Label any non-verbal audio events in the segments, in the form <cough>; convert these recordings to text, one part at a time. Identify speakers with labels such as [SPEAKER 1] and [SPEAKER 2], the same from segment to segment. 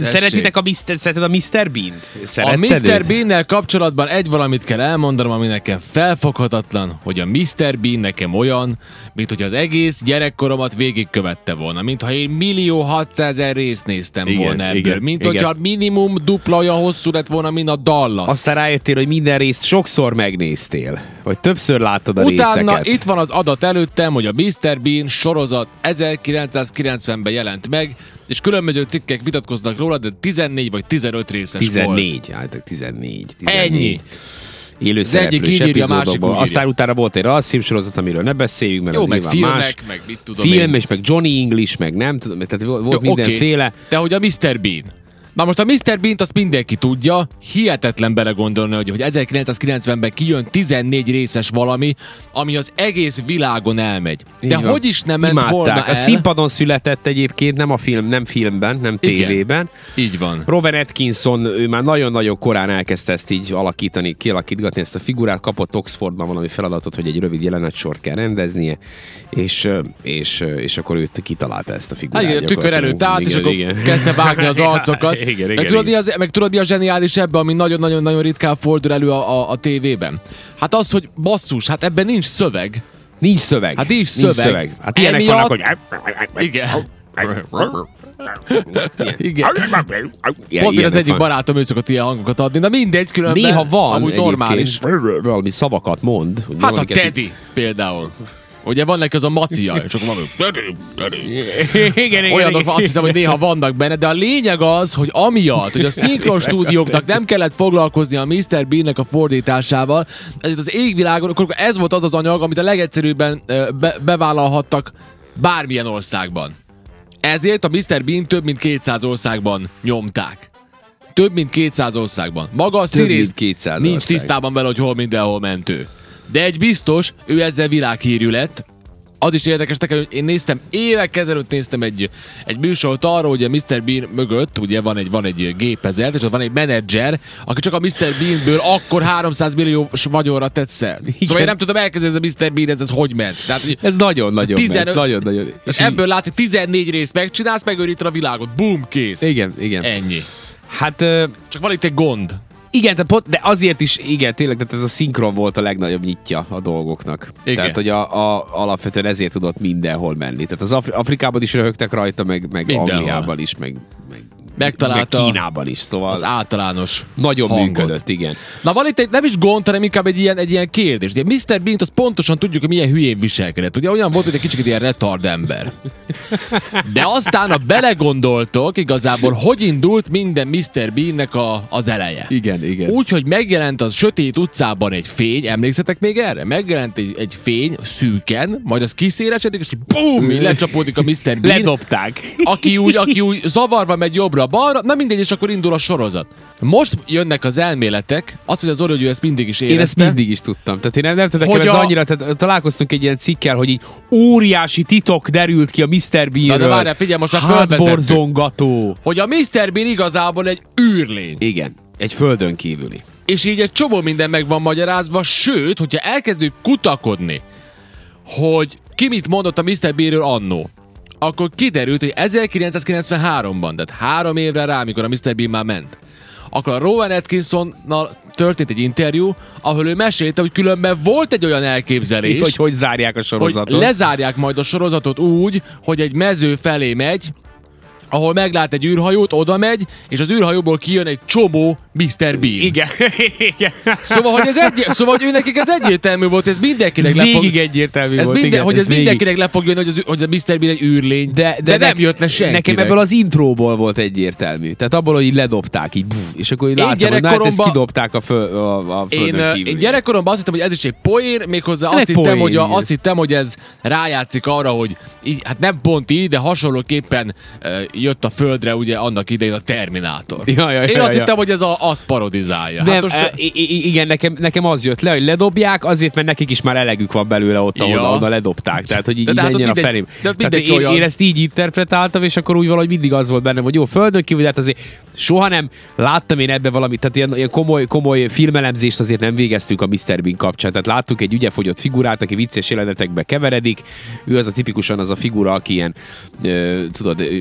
[SPEAKER 1] Tessék. Szeretitek a Mr. Szereted a Mr. Bean-t?
[SPEAKER 2] A
[SPEAKER 1] Szeretted
[SPEAKER 2] Mr.
[SPEAKER 1] őt?
[SPEAKER 2] Bean-nel kapcsolatban egy valamit kell elmondanom, ami nekem felfoghatatlan, hogy a Mr. Bean nekem olyan, mint hogy az egész gyerekkoromat végigkövette volna, mintha én millió 600 részt néztem
[SPEAKER 3] Igen,
[SPEAKER 2] volna ebből,
[SPEAKER 3] igen,
[SPEAKER 2] mint
[SPEAKER 3] igen.
[SPEAKER 2] hogyha minimum dupla olyan hosszú lett volna, mint a Dallas.
[SPEAKER 3] Aztán rájöttél, hogy minden részt sokszor megnéztél, vagy többször láttad a
[SPEAKER 2] Utána
[SPEAKER 3] részeket.
[SPEAKER 2] itt van az adat előttem, hogy a Mr. Bean sorozat 1990-ben jelent meg, és különböző cikkek vitatkoznak róla, de 14 vagy 15 részes volt.
[SPEAKER 3] 14, hát 14, 14.
[SPEAKER 2] Ennyi.
[SPEAKER 3] Élő
[SPEAKER 2] Az egyik
[SPEAKER 3] szereplős
[SPEAKER 2] így írja, a másik
[SPEAKER 3] epizódokból.
[SPEAKER 2] úgy írja.
[SPEAKER 3] Aztán utána volt egy rasszim sorozat, amiről ne beszéljünk, mert
[SPEAKER 2] Jó,
[SPEAKER 3] az
[SPEAKER 2] meg
[SPEAKER 3] nyilván
[SPEAKER 2] filmek,
[SPEAKER 3] más.
[SPEAKER 2] meg mit tudom
[SPEAKER 3] Film,
[SPEAKER 2] én.
[SPEAKER 3] és meg Johnny English, meg nem tudom, tehát vo- volt
[SPEAKER 2] Jó,
[SPEAKER 3] Jó, mindenféle.
[SPEAKER 2] Oké, de hogy a Mr. Bean. Na most a Mr. Bean-t azt mindenki tudja, hihetetlen belegondolni, hogy, hogy 1990-ben kijön 14 részes valami, ami az egész világon elmegy.
[SPEAKER 3] Így
[SPEAKER 2] De
[SPEAKER 3] van.
[SPEAKER 2] hogy is nem ment
[SPEAKER 3] Imádták.
[SPEAKER 2] volna
[SPEAKER 3] A
[SPEAKER 2] el?
[SPEAKER 3] színpadon született egyébként, nem a film, nem filmben, nem
[SPEAKER 2] Igen.
[SPEAKER 3] tévében.
[SPEAKER 2] Így van.
[SPEAKER 3] Robert Atkinson, ő már nagyon-nagyon korán elkezdte ezt így alakítani, kialakítgatni ezt a figurát, kapott Oxfordban valami feladatot, hogy egy rövid jelenetsort kell rendeznie, és, ö, és, ö, és akkor ő kitalálta ezt a
[SPEAKER 2] Hát
[SPEAKER 3] figurát.
[SPEAKER 2] igen, a tükör
[SPEAKER 3] gyakorlatilag.
[SPEAKER 2] előtt állt, és
[SPEAKER 3] Igen,
[SPEAKER 2] akkor
[SPEAKER 3] igen.
[SPEAKER 2] kezdte vágni
[SPEAKER 3] <laughs>
[SPEAKER 2] az arcokat.
[SPEAKER 3] igen, igen,
[SPEAKER 2] meg,
[SPEAKER 3] igen,
[SPEAKER 2] tudod, mi az, meg tudod, mi a zseniális ebben, ami nagyon-nagyon-nagyon ritkán fordul elő a, a, a tévében? Hát az, hogy basszus, hát ebben nincs szöveg.
[SPEAKER 3] Nincs szöveg.
[SPEAKER 2] Hát nincs
[SPEAKER 3] Nincs
[SPEAKER 2] szöveg.
[SPEAKER 3] szöveg. Hát ilyenek
[SPEAKER 2] Emiatt-
[SPEAKER 3] vannak, hogy...
[SPEAKER 2] Igen. Igen.
[SPEAKER 4] Igen.
[SPEAKER 3] Ilyen-
[SPEAKER 2] Pont mire az
[SPEAKER 3] ilyenek
[SPEAKER 2] egyik
[SPEAKER 3] van.
[SPEAKER 2] barátom ő szokott ilyen hangokat adni. Na mindegy, különben.
[SPEAKER 3] Néha van
[SPEAKER 2] Amúgy
[SPEAKER 3] egyébként
[SPEAKER 2] normális.
[SPEAKER 3] Valami szavakat mond. hogy
[SPEAKER 2] Hát a
[SPEAKER 3] valamiket így-
[SPEAKER 2] Teddy például. Ugye van neki az a macia, csak van
[SPEAKER 3] igen, igen,
[SPEAKER 2] olyanok,
[SPEAKER 3] igen.
[SPEAKER 2] van, azt hiszem, hogy néha vannak benne, de a lényeg az, hogy amiatt, hogy a szinkron stúdióknak nem kellett foglalkozni a Mr. Bean-nek a fordításával, ezért az égvilágon, akkor ez volt az az anyag, amit a legegyszerűbben ö, be, bevállalhattak bármilyen országban. Ezért a Mr. Bean több mint 200 országban nyomták. Több mint 200 országban. Maga a színész
[SPEAKER 3] mint 200
[SPEAKER 2] nincs
[SPEAKER 3] ország.
[SPEAKER 2] tisztában vele, hogy hol mindenhol mentő. De egy biztos, ő ezzel világhírű lett. Az is érdekes nekem, hogy én néztem, évek ezelőtt néztem egy, egy műsort arról, hogy a Mr. Bean mögött ugye van egy, van egy gépezet, és ott van egy menedzser, aki csak a Mr. Beanből akkor 300 milliós vagyonra tett szert. Szóval én nem tudom elkezdeni, ez a Mr. Bean, ez, ez hogy ment. Tehát, hogy
[SPEAKER 3] Ez nagyon-nagyon megy,
[SPEAKER 2] 15
[SPEAKER 3] Nagyon-nagyon.
[SPEAKER 2] és
[SPEAKER 3] így-
[SPEAKER 2] ebből látszik, 14 részt megcsinálsz, megőríted a világot. Boom, kész.
[SPEAKER 3] Igen, igen.
[SPEAKER 2] Ennyi.
[SPEAKER 3] Hát ö,
[SPEAKER 2] Csak van itt egy gond.
[SPEAKER 3] Igen, de, pont, de azért is, igen, tényleg, tehát ez a szinkron volt a legnagyobb nyitja a dolgoknak.
[SPEAKER 2] Igen.
[SPEAKER 3] Tehát, hogy a, a, alapvetően ezért tudott mindenhol menni. Tehát az Afri- Afrikában is röhögtek rajta, meg, meg
[SPEAKER 2] Mindenhol.
[SPEAKER 3] Angliában is, meg, meg, meg
[SPEAKER 2] Megtalálta
[SPEAKER 3] Kínában is. Szóval
[SPEAKER 2] az általános
[SPEAKER 3] nagyon
[SPEAKER 2] hangot.
[SPEAKER 3] működött, igen.
[SPEAKER 2] Na van itt egy, nem is gond, hanem inkább egy ilyen, egy ilyen kérdés. Ugye Mr. Bean-t azt pontosan tudjuk, hogy milyen hülyén viselkedett. Ugye olyan volt, mint egy kicsit ilyen retard ember. De aztán, ha belegondoltok, igazából hogy indult minden Mr. Bean-nek a, az eleje.
[SPEAKER 3] Igen, igen.
[SPEAKER 2] Úgy, hogy megjelent az sötét utcában egy fény, emlékszetek még erre? Megjelent egy, egy fény szűken, majd az kiszélesedik, és így bum, így lecsapódik a Mr. Bean
[SPEAKER 3] Ledobták.
[SPEAKER 2] aki úgy, aki úgy zavarva megy jobbra-balra, na mindegy, és akkor indul a sorozat. Most jönnek az elméletek, azt, hogy az orrogyú ezt mindig is érezte.
[SPEAKER 3] Én ezt mindig is tudtam. Tehát én nem, nem tudom,
[SPEAKER 2] Hogy
[SPEAKER 3] nekem ez
[SPEAKER 2] a-
[SPEAKER 3] annyira, tehát találkoztunk egy ilyen cikkel, hogy így óriási titok derült ki a Mr.
[SPEAKER 2] Na
[SPEAKER 3] Bean-ről.
[SPEAKER 2] de várjál, figyelj, most már fölvezettük.
[SPEAKER 3] Hátborzongató.
[SPEAKER 2] Hogy a Mr. Bean igazából egy űrlény.
[SPEAKER 3] Igen, egy földön kívüli.
[SPEAKER 2] És így egy csomó minden meg van magyarázva, sőt, hogyha elkezdünk kutakodni, hogy ki mit mondott a Mr. Bean-ről annó, akkor kiderült, hogy 1993-ban, tehát három évre rá, amikor a Mr. Bean már ment, akkor a Rowan Atkinsonnal történt egy interjú, ahol ő mesélte, hogy különben volt egy olyan elképzelés,
[SPEAKER 3] Hogy hogy zárják a
[SPEAKER 2] hogy
[SPEAKER 3] sorozatot.
[SPEAKER 2] lezárják majd a sorozatot úgy, hogy egy mező felé megy, ahol meglát egy űrhajót, oda megy, és az űrhajóból kijön egy csomó Mr. Bean.
[SPEAKER 3] Igen. <laughs> Igen.
[SPEAKER 2] Szóval, hogy, ez egy, szóval, hogy ő nekik ez egyértelmű volt, ez mindenkinek
[SPEAKER 3] Ez
[SPEAKER 2] le fog...
[SPEAKER 3] végig egyértelmű
[SPEAKER 2] ez
[SPEAKER 3] volt.
[SPEAKER 2] minden,
[SPEAKER 3] igen,
[SPEAKER 2] hogy ez,
[SPEAKER 3] végig.
[SPEAKER 2] mindenkinek le fog jönni, hogy, az, hogy a Mr. Bean egy űrlény.
[SPEAKER 3] De, de,
[SPEAKER 2] nem
[SPEAKER 3] nek-
[SPEAKER 2] jött le senkinek.
[SPEAKER 3] Nekem ebből az intróból volt egyértelmű. Tehát abból, hogy így ledobták, így, buf, és akkor így láttam, hogy na, hát ezt
[SPEAKER 2] gyerekkoromban-
[SPEAKER 3] kidobták a, föl, a, a
[SPEAKER 2] én,
[SPEAKER 3] földön
[SPEAKER 2] ö,
[SPEAKER 3] kívül.
[SPEAKER 2] én gyerekkoromban azt hittem, hogy ez is egy poén, méghozzá azt
[SPEAKER 3] egy
[SPEAKER 2] hittem,
[SPEAKER 3] poén,
[SPEAKER 2] hogy a,
[SPEAKER 3] igen.
[SPEAKER 2] azt hittem, hogy ez rájátszik arra, hogy így, hát nem pont így, de hasonlóképpen ö, jött a földre ugye annak idején a Terminátor.
[SPEAKER 3] Ja, ja, ja,
[SPEAKER 2] én azt
[SPEAKER 3] ja.
[SPEAKER 2] hittem, hogy ez a, azt parodizálja.
[SPEAKER 3] Nem, e-
[SPEAKER 2] hát
[SPEAKER 3] most...
[SPEAKER 2] most,
[SPEAKER 3] igen, nekem, nekem az jött le, hogy ledobják, azért, mert nekik is már elegük van belőle ott, ahol
[SPEAKER 2] Ja.
[SPEAKER 3] ja. ledobták. Tehát, hogy így,
[SPEAKER 2] De-
[SPEAKER 3] de, de
[SPEAKER 2] de hát ott
[SPEAKER 3] menjen a
[SPEAKER 2] mindegy-
[SPEAKER 3] felém.
[SPEAKER 2] de ott
[SPEAKER 3] Tehát
[SPEAKER 2] mindenki
[SPEAKER 3] én,
[SPEAKER 2] olyan.
[SPEAKER 3] én, ezt így interpretáltam, és akkor úgy valahogy mindig az volt bennem, hogy jó, földön kívül, de hát azért Soha nem láttam én ebbe valamit, tehát ilyen, ilyen komoly, komoly filmelemzést azért nem végeztünk a Mr. Bean kapcsán. Tehát láttuk egy ügyefogyott figurát, aki vicces jelenetekbe keveredik. Ő az a tipikusan az a figura, aki ilyen, ö, tudod, ö,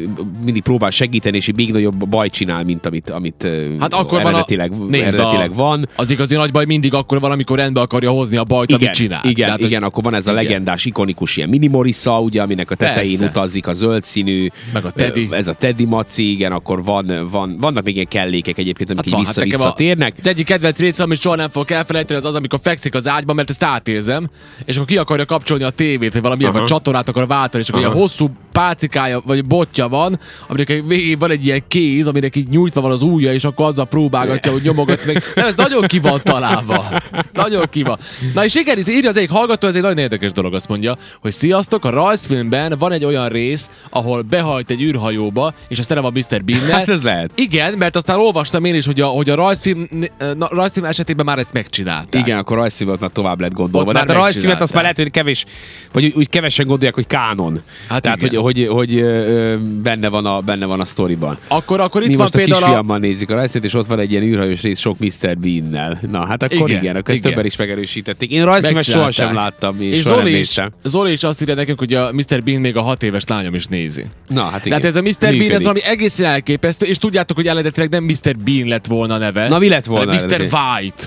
[SPEAKER 3] mindig próbál segíteni, és így még nagyobb baj csinál, mint amit, amit ö,
[SPEAKER 2] Hát akkor van
[SPEAKER 3] eredetileg,
[SPEAKER 2] a...
[SPEAKER 3] a... eredetileg
[SPEAKER 2] a...
[SPEAKER 3] van.
[SPEAKER 2] Az igazi nagy baj mindig akkor van, amikor rendbe akarja hozni a bajt,
[SPEAKER 3] Igen,
[SPEAKER 2] amit csinál.
[SPEAKER 3] igen,
[SPEAKER 2] Tehát, hogy-
[SPEAKER 3] igen akkor van ez a
[SPEAKER 2] igen.
[SPEAKER 3] legendás, ikonikus ilyen minimorissa, ugye, aminek a tetején
[SPEAKER 2] Persze.
[SPEAKER 3] utazik a zöld színű.
[SPEAKER 2] Meg a Teddy.
[SPEAKER 3] ö, Ez a Teddy maci, igen, akkor van, van, vannak még ilyen kellékek egyébként, amik hát
[SPEAKER 2] Hát van,
[SPEAKER 3] így
[SPEAKER 2] hát
[SPEAKER 3] vissza,
[SPEAKER 2] nekem a-
[SPEAKER 3] visszatérnek.
[SPEAKER 2] Az egyik kedvenc része, amit soha nem fogok elfelejteni, az az, amikor fekszik az ágyban, mert ezt átérzem, és akkor ki akarja kapcsolni a tévét, vagy valami vagy csatornát akar váltani, és akkor ilyen hosszú pácikája, vagy botja van, aminek egy- végén van egy ilyen kéz, aminek így nyújtva van az ujja, és akkor azzal próbálgatja, hogy nyomogat meg. Nem, ez nagyon ki van találva. Nagyon ki van. Na és igen, itt írja az egyik hallgató, ez egy nagyon érdekes dolog, azt mondja, hogy sziasztok, a rajzfilmben van egy olyan rész, ahol behajt egy űrhajóba, és aztán van Mr. Bean.
[SPEAKER 3] Hát ez lehet.
[SPEAKER 2] Igen, mert aztán olvastam én is, hogy a, hogy a rajzfilm, eh, na, rajzfilm esetében már ezt megcsinálták.
[SPEAKER 3] Igen, akkor rajzszívet már tovább lett gondolva.
[SPEAKER 2] Ott
[SPEAKER 3] De
[SPEAKER 2] már
[SPEAKER 3] hát a rajzszívet azt
[SPEAKER 2] megcsinálták.
[SPEAKER 3] már lehet, hogy kevés, vagy úgy, úgy kevesen gondolják, hogy kánon.
[SPEAKER 2] Hát
[SPEAKER 3] Tehát, hogy,
[SPEAKER 2] igen.
[SPEAKER 3] hogy, hogy, ö, ö, benne, van a, benne van a sztoriban.
[SPEAKER 2] Akkor, akkor itt
[SPEAKER 3] Mi
[SPEAKER 2] van
[SPEAKER 3] most a
[SPEAKER 2] például
[SPEAKER 3] kisfiammal nézzük a rajzszívet, és ott van egy ilyen űrhajós rész sok Mr. Bean-nel. Na, hát akkor
[SPEAKER 2] Igen,
[SPEAKER 3] igen, igen akkor ezt
[SPEAKER 2] igen.
[SPEAKER 3] többen is megerősítették. Én rajzszívet soha
[SPEAKER 2] megcsinálták.
[SPEAKER 3] sem láttam, és,
[SPEAKER 2] és
[SPEAKER 3] soha nem
[SPEAKER 2] Zoli is,
[SPEAKER 3] néztem.
[SPEAKER 2] Zoli is azt írja nekünk, hogy a Mr. Bean még a hat éves lányom is nézi.
[SPEAKER 3] Na, hát igen.
[SPEAKER 2] Tehát ez a Mr. Bean, ez valami egészen elképesztő, és tudjátok, hogy eredetileg nem Mr. Bean lett volna a neve.
[SPEAKER 3] Na, mi lett volna
[SPEAKER 2] hanem Mr.
[SPEAKER 3] eredetileg?
[SPEAKER 2] White.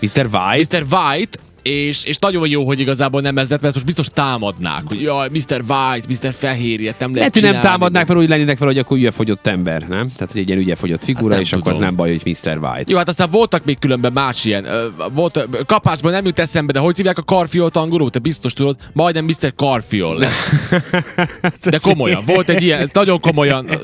[SPEAKER 3] Mr. White?
[SPEAKER 2] Mr. White, és, és nagyon jó, hogy igazából nem ez lett, mert ezt most biztos támadnák, hogy jaj, Mr. White, Mr. Fehér, ilyet nem lehet
[SPEAKER 3] Lehet, hogy nem
[SPEAKER 2] csinálni.
[SPEAKER 3] támadnák, mert úgy lennének vele, hogy akkor ügyefogyott ember, nem? Tehát, hogy egy ilyen ügyefogyott figura,
[SPEAKER 2] Hát nem
[SPEAKER 3] és akkor az
[SPEAKER 2] tudom.
[SPEAKER 3] nem baj, hogy Mr. White. <laughs>
[SPEAKER 2] Jó, hát aztán voltak még különben más ilyen. Ö, volt, ö, kapásban nem jut eszembe, de hogy hívják a karfiolt angolul? Te biztos tudod, majdnem Mr. Karfiol. De komolyan, volt egy ilyen, ez nagyon komolyan. Ö,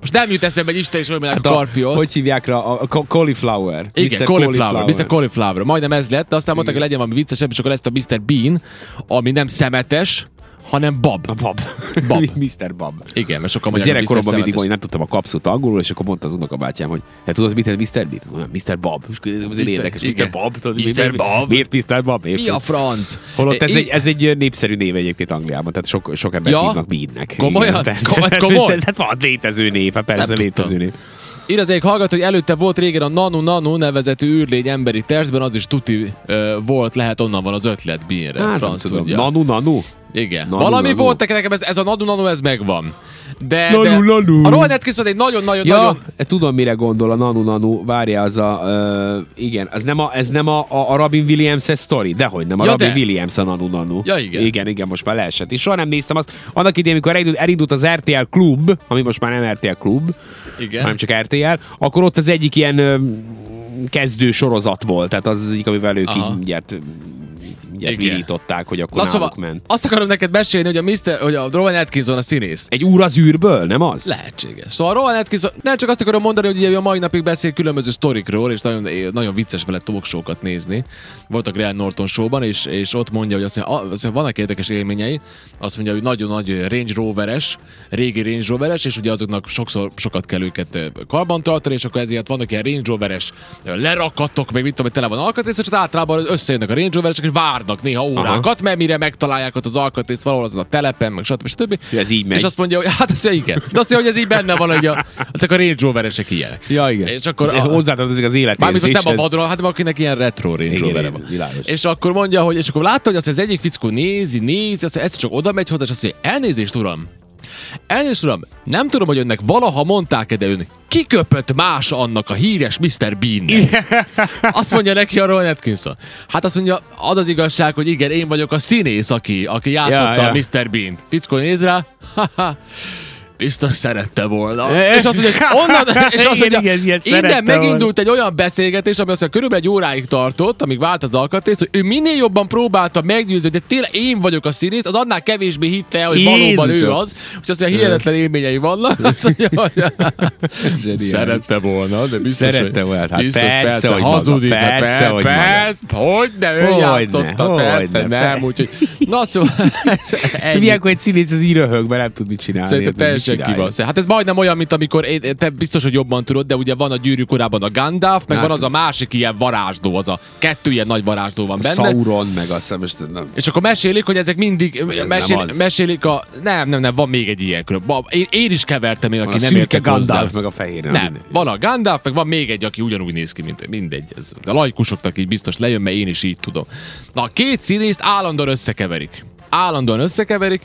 [SPEAKER 2] Most nem jut eszembe, hogy Isten is olyan,
[SPEAKER 3] <laughs> Hát
[SPEAKER 2] a karfiol.
[SPEAKER 3] Hogy hívják rá? A, a co- cauliflower.
[SPEAKER 2] Igen,
[SPEAKER 3] Mr.
[SPEAKER 2] cauliflower, Mr. Cauliflower. Majdnem ez lett, de aztán mondták, hogy legyen valami viccesebb, és akkor lesz a Mr. Bean, ami nem szemetes, hanem bab.
[SPEAKER 3] A <laughs> bab.
[SPEAKER 2] Bab.
[SPEAKER 3] Mr. Bab.
[SPEAKER 2] Igen, mert sokan
[SPEAKER 3] Az
[SPEAKER 2] mondják, hogy
[SPEAKER 3] gyerekkoromban
[SPEAKER 2] Mr.
[SPEAKER 3] mindig
[SPEAKER 2] Szemetes.
[SPEAKER 3] mondja, nem tudtam a kapszót angolul, és akkor mondta az unokabátyám, hogy hát tudod, mit ez Mr. Bean? Olyan, Mr. Bab. És akkor ez azért
[SPEAKER 2] Mr.
[SPEAKER 3] érdekes.
[SPEAKER 2] igen.
[SPEAKER 3] Mr. Bab. tudod,
[SPEAKER 2] Mr.
[SPEAKER 3] miért-
[SPEAKER 2] Bab.
[SPEAKER 3] Miért Mr. Bab? Miért?
[SPEAKER 2] Mi a franc?
[SPEAKER 3] Holott ez
[SPEAKER 2] I-
[SPEAKER 3] egy, ez egy népszerű név egyébként Angliában, tehát sok, sok ember
[SPEAKER 2] Ja?
[SPEAKER 3] ja? hívnak Beannek.
[SPEAKER 2] Komolyan?
[SPEAKER 3] Igen, <laughs> persze.
[SPEAKER 2] Komoly-
[SPEAKER 3] Hát,
[SPEAKER 2] komoly?
[SPEAKER 3] most ez- Hát van létező név, hát persze
[SPEAKER 2] Nem
[SPEAKER 3] létező
[SPEAKER 2] tudtam.
[SPEAKER 3] név.
[SPEAKER 2] Ír az egyik hallgató, hogy előtte volt régen a Nanu Nanu nevezetű űrlény emberi testben, az is tuti ö, volt, lehet onnan van az ötlet bírre.
[SPEAKER 3] Hát nem
[SPEAKER 2] franc
[SPEAKER 3] tudom.
[SPEAKER 2] tudja.
[SPEAKER 3] Nanu, nanu.
[SPEAKER 2] Igen.
[SPEAKER 3] Nanu,
[SPEAKER 2] Valami
[SPEAKER 3] Nanu.
[SPEAKER 2] volt nekem, ez, ez a Nanu Nanu, ez megvan. De,
[SPEAKER 3] Nanu,
[SPEAKER 2] de
[SPEAKER 3] Nanu.
[SPEAKER 2] a Rowan Atkinson egy nagyon-nagyon
[SPEAKER 3] Ja,
[SPEAKER 2] nagyon...
[SPEAKER 3] E, tudom, mire gondol a Nanu Nanu, várja az a... Ö, igen, az nem a, ez nem a, a, a Robin Williams-es sztori, dehogy nem, a
[SPEAKER 2] Ja,
[SPEAKER 3] Robin
[SPEAKER 2] de.
[SPEAKER 3] Williams a Nanu Nanu.
[SPEAKER 2] Ja, igen.
[SPEAKER 3] Igen, igen, most már leesett. És soha nem néztem azt, annak idején, amikor elindult, elindult az RTL Klub, ami most már nem RTL Klub,
[SPEAKER 2] Igen.
[SPEAKER 3] hanem csak RTL, akkor ott az egyik ilyen ö, kezdő sorozat volt, tehát az az egyik, amivel ők
[SPEAKER 2] Aha.
[SPEAKER 3] így mindjárt, mindjárt
[SPEAKER 2] Igen.
[SPEAKER 3] virították, hogy akkor
[SPEAKER 2] Na
[SPEAKER 3] náluk
[SPEAKER 2] szóval,
[SPEAKER 3] ment.
[SPEAKER 2] azt akarom neked mesélni, hogy a, Mr., hogy a Rowan Atkinson a színész.
[SPEAKER 3] Egy úr az űrből, nem az?
[SPEAKER 2] Lehetséges. Szóval Rowan Atkinson, nem csak azt akarom mondani, hogy ugye ő a mai napig beszél különböző sztorikról, és nagyon, nagyon vicces vele talkshow-kat nézni. Voltak Graham Norton showban, és, és ott mondja, hogy azt mondja, a- azt mondja, vannak érdekes élményei, azt mondja, hogy nagyon nagy Range Roveres, régi Range Roveres, és ugye azoknak sokszor sokat kell őket ö, karbantartani, és akkor ezért vannak ilyen Range Roveres ö, lerakatok, meg mit tudom, hogy tele van alkatrész, és hát általában összejönnek a Range Roveresek, és várnak néha órákat, mert mire megtalálják ott az alkatrészt valahol azon a telepen, meg stb. stb.
[SPEAKER 3] Ja, ez így megy.
[SPEAKER 2] És azt mondja, hogy hát azt mondja, igen. De azt mondja, hogy ez így benne van, hogy a, csak a Range Roveresek ilyenek.
[SPEAKER 3] Ja, igen.
[SPEAKER 2] És akkor
[SPEAKER 3] Ez-
[SPEAKER 2] a-
[SPEAKER 3] hozzátartozik az
[SPEAKER 2] Mármint
[SPEAKER 3] életérzés.
[SPEAKER 2] most nem a
[SPEAKER 3] ez-
[SPEAKER 2] vadról, hát akinek ilyen retro Range
[SPEAKER 3] Igen,
[SPEAKER 2] rover
[SPEAKER 3] igen,
[SPEAKER 2] van.
[SPEAKER 3] világos.
[SPEAKER 2] És akkor mondja, hogy, és akkor látta, hogy azt az egyik fickó nézi, nézi, azt egyszer csak oda megy hozzá, és azt mondja, elnézést uram, elnézést uram, nem tudom, hogy önnek valaha mondták-e, de ön kiköpött más annak a híres Mr. bean <laughs> Azt mondja neki a Rowan Atkinson. Hát azt mondja, az az igazság, hogy igen, én vagyok a színész, aki, aki játszotta
[SPEAKER 3] Ja,
[SPEAKER 2] a
[SPEAKER 3] ja.
[SPEAKER 2] Mr. Bean. Fickó néz rá, ha-ha, biztos szerette volna.
[SPEAKER 3] <laughs>
[SPEAKER 2] és azt mondja, és onnan, és azt
[SPEAKER 3] Igen,
[SPEAKER 2] mondja,
[SPEAKER 3] igen, ilyet
[SPEAKER 2] innen
[SPEAKER 3] szerette volna.
[SPEAKER 2] megindul volt egy olyan beszélgetés, ami azt mondja, körülbelül egy óráig tartott, amíg vált az alkatrész, hogy ő minél jobban próbálta meggyőzni, hogy de tényleg én vagyok a színész, az annál kevésbé hitte el, hogy valóban ő
[SPEAKER 3] Jézusom!
[SPEAKER 2] az. Úgyhogy azt mondja, hihetetlen élményei <laughs> vannak. Azt mondja, hogy
[SPEAKER 3] Zseniális.
[SPEAKER 2] szerette volna, de biztos,
[SPEAKER 3] Szerette
[SPEAKER 2] hogy,
[SPEAKER 3] volna, hát
[SPEAKER 2] biztos,
[SPEAKER 3] persze, hogy maga,
[SPEAKER 2] hazudik, hát
[SPEAKER 3] persze,
[SPEAKER 2] persze,
[SPEAKER 3] hogy maga.
[SPEAKER 2] persze, hogy ne, ő
[SPEAKER 3] Hogyne,
[SPEAKER 2] játszotta,
[SPEAKER 3] hogyne,
[SPEAKER 2] persze,
[SPEAKER 3] persze.
[SPEAKER 2] nem, úgyhogy, na szóval,
[SPEAKER 3] Ezt
[SPEAKER 2] ennyi.
[SPEAKER 3] Tudják, hogy egy színész az íröhögben nem tud mit csinálni.
[SPEAKER 2] Szerintem
[SPEAKER 3] Érted?
[SPEAKER 2] teljesen senki
[SPEAKER 3] csinálja.
[SPEAKER 2] bassza. Hát ez majdnem olyan, mint amikor én, te biztos, hogy jobban tudod, de ugye van a gyűrű korában a Gandalf, meg
[SPEAKER 3] Hát.
[SPEAKER 2] van az a másik ilyen varázsló, az a kettő ilyen nagy varázsló van benne.
[SPEAKER 3] Sauron, meg azt hiszem, most nem.
[SPEAKER 2] És akkor mesélik, hogy ezek mindig
[SPEAKER 3] nem
[SPEAKER 2] mesél,
[SPEAKER 3] az.
[SPEAKER 2] mesélik a... Nem, nem, nem, van még egy ilyen külön. Ba- Én, én is kevertem én,
[SPEAKER 3] Van a
[SPEAKER 2] aki nem
[SPEAKER 3] szürke
[SPEAKER 2] értek hozzá.
[SPEAKER 3] Gandalf, meg a fehér. <laughs>
[SPEAKER 2] Nem, van a Gandalf, meg van még egy, aki ugyanúgy néz ki, mint mindegy. Ez a laikusoknak így biztos lejön, mert én is így tudom. Na, a két színészt állandóan összekeverik. Állandóan összekeverik,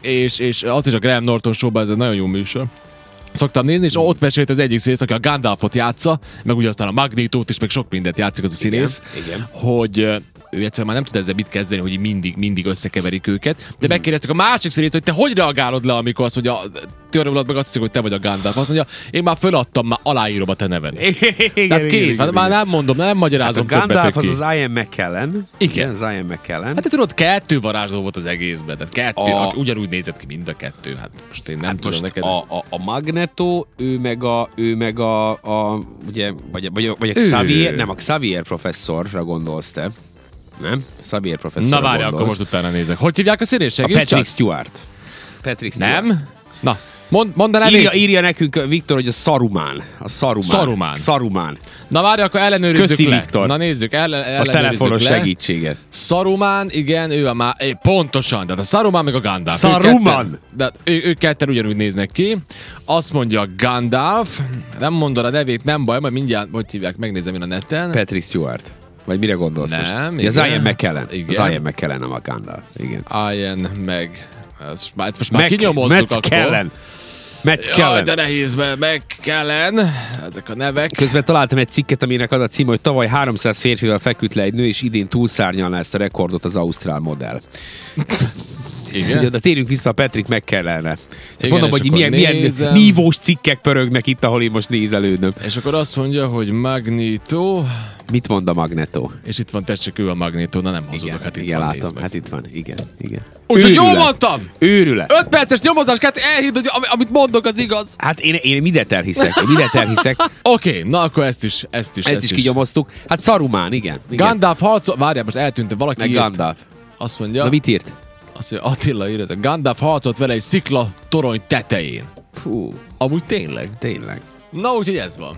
[SPEAKER 2] és, és azt is a Graham Norton showban, ez egy nagyon jó műsor. Szoktam nézni, és ott mesélt az egyik színész, aki a Gandalfot játsza, meg ugye aztán a Magnitót is, meg sok mindent játszik az a színész,
[SPEAKER 3] igen.
[SPEAKER 2] hogy ö, ő egyszerűen már nem tud ezzel mit kezdeni, hogy így mindig, mindig összekeverik őket.
[SPEAKER 3] Hmm.
[SPEAKER 2] De megkérdeztük a másik színészt, hogy te hogy reagálod le, amikor azt mondja, Tiorolod meg azt hiszik, hogy te vagy a Gandalf. Azt mondja, én már föladtam, már aláírom a te neved. Tehát két, hát már nem mondom, nem
[SPEAKER 3] Hát a
[SPEAKER 2] magyarázom hát többet
[SPEAKER 3] Gandalf az
[SPEAKER 2] ki.
[SPEAKER 3] az Ian McKellen.
[SPEAKER 2] Igen.
[SPEAKER 3] Az Ian McKellen.
[SPEAKER 2] Hát te tudod, kettő varázsló volt az egészben, tehát kettő,
[SPEAKER 3] A-
[SPEAKER 2] a... ugyanúgy nézett ki mind a kettő. Hát most én nem
[SPEAKER 3] Hát
[SPEAKER 2] tudom
[SPEAKER 3] most
[SPEAKER 2] neked.
[SPEAKER 3] a, a, a Magneto, ő meg a, ő meg a, a ugye, vagy, vagy, vagy a
[SPEAKER 2] Ő.
[SPEAKER 3] Xavier, nem, a Xavier professzorra gondolsz te. Nem? Xavier professzorra
[SPEAKER 2] Na várj,
[SPEAKER 3] gondolsz.
[SPEAKER 2] akkor most utána nézek. Hogy hívják a színét?
[SPEAKER 3] A
[SPEAKER 2] Segíts
[SPEAKER 3] Patrick
[SPEAKER 2] csak?
[SPEAKER 3] Stewart. Patrick Stewart.
[SPEAKER 2] Nem? Na, mond, mondaná
[SPEAKER 3] Írja,
[SPEAKER 2] még?
[SPEAKER 3] írja nekünk uh, Viktor, hogy a Szarumán. A Szarumán.
[SPEAKER 2] Szarumán.
[SPEAKER 3] Szarumán.
[SPEAKER 2] Na várj, akkor ellenőrizzük
[SPEAKER 3] Köszi,
[SPEAKER 2] le.
[SPEAKER 3] Viktor.
[SPEAKER 2] Na nézzük, ellen,
[SPEAKER 3] A
[SPEAKER 2] ellenőrizzük
[SPEAKER 3] telefonos
[SPEAKER 2] le.
[SPEAKER 3] segítséget.
[SPEAKER 2] Szarumán, igen, ő a má... É, pontosan, tehát a Szarumán meg a Gandalf.
[SPEAKER 3] Saruman!
[SPEAKER 2] Ők ketten, de ő, ők ketten ugyanúgy néznek ki. Azt mondja Gandalf, nem mondod a nevét, nem baj, majd mindjárt, hogy hívják, megnézem én a neten.
[SPEAKER 3] Patrick Stewart. Vagy mire gondolsz
[SPEAKER 2] Nem,
[SPEAKER 3] most? Ugye Az
[SPEAKER 2] igen.
[SPEAKER 3] Ian McKellen. Az
[SPEAKER 2] Igen.
[SPEAKER 3] Ian McKellen, nem a Gandalf. Igen.
[SPEAKER 2] Ian meg... Ez, már, ezt most már
[SPEAKER 3] Mac,
[SPEAKER 2] kinyomozzuk
[SPEAKER 3] Matt
[SPEAKER 2] akkor.
[SPEAKER 3] Kellen. Matt
[SPEAKER 2] Jaj, de
[SPEAKER 3] Kellen.
[SPEAKER 2] nehéz, mert meg kellen. Ezek a nevek.
[SPEAKER 3] Közben találtam egy cikket, aminek az a címe, hogy tavaly 300 férfival feküdt le egy nő, és idén túlszárnyalná ezt a rekordot az Ausztrál modell. Ugye,
[SPEAKER 2] Igen.
[SPEAKER 3] de térjünk vissza a Patrick McKellenre.
[SPEAKER 2] Igen,
[SPEAKER 3] Mondom,
[SPEAKER 2] és
[SPEAKER 3] hogy
[SPEAKER 2] akkor
[SPEAKER 3] milyen, milyen
[SPEAKER 2] nézem.
[SPEAKER 3] nívós cikkek pörögnek itt, ahol én most nézelődöm.
[SPEAKER 2] És akkor azt mondja, hogy Magneto,
[SPEAKER 3] Mit mond a Magneto?
[SPEAKER 2] és itt van tessék ő a Magneto, na nem hazudok, hát itt
[SPEAKER 3] igen,
[SPEAKER 2] van,
[SPEAKER 3] látom.
[SPEAKER 2] nézd meg.
[SPEAKER 3] Hát itt van, igen, igen.
[SPEAKER 2] Úgyhogy jól
[SPEAKER 3] Őrület.
[SPEAKER 2] mondtam!
[SPEAKER 3] Őrület.
[SPEAKER 2] 5 perces nyomozás kettő, elhidd, hogy ami- amit mondok, az igaz.
[SPEAKER 3] Hát én, én mindet elhiszek, én mindet
[SPEAKER 2] <laughs>
[SPEAKER 3] elhiszek.
[SPEAKER 2] Oké, okay, na akkor ezt is, ezt is.
[SPEAKER 3] Ezt is kigyomoztuk. Hát Szarumán, igen. igen.
[SPEAKER 2] Gandalf harcol... Várjál, most eltűnt, valaki
[SPEAKER 3] Meg
[SPEAKER 2] írt.
[SPEAKER 3] Gandalf.
[SPEAKER 2] Azt mondja,
[SPEAKER 3] Na mit írt?
[SPEAKER 2] azt mondja, Attila ír, ez Gandalf harcolt vele egy szikla torony tetején.
[SPEAKER 3] Fú,
[SPEAKER 2] Amúgy tényleg.
[SPEAKER 3] tényleg.
[SPEAKER 2] Na úgyhogy ez van.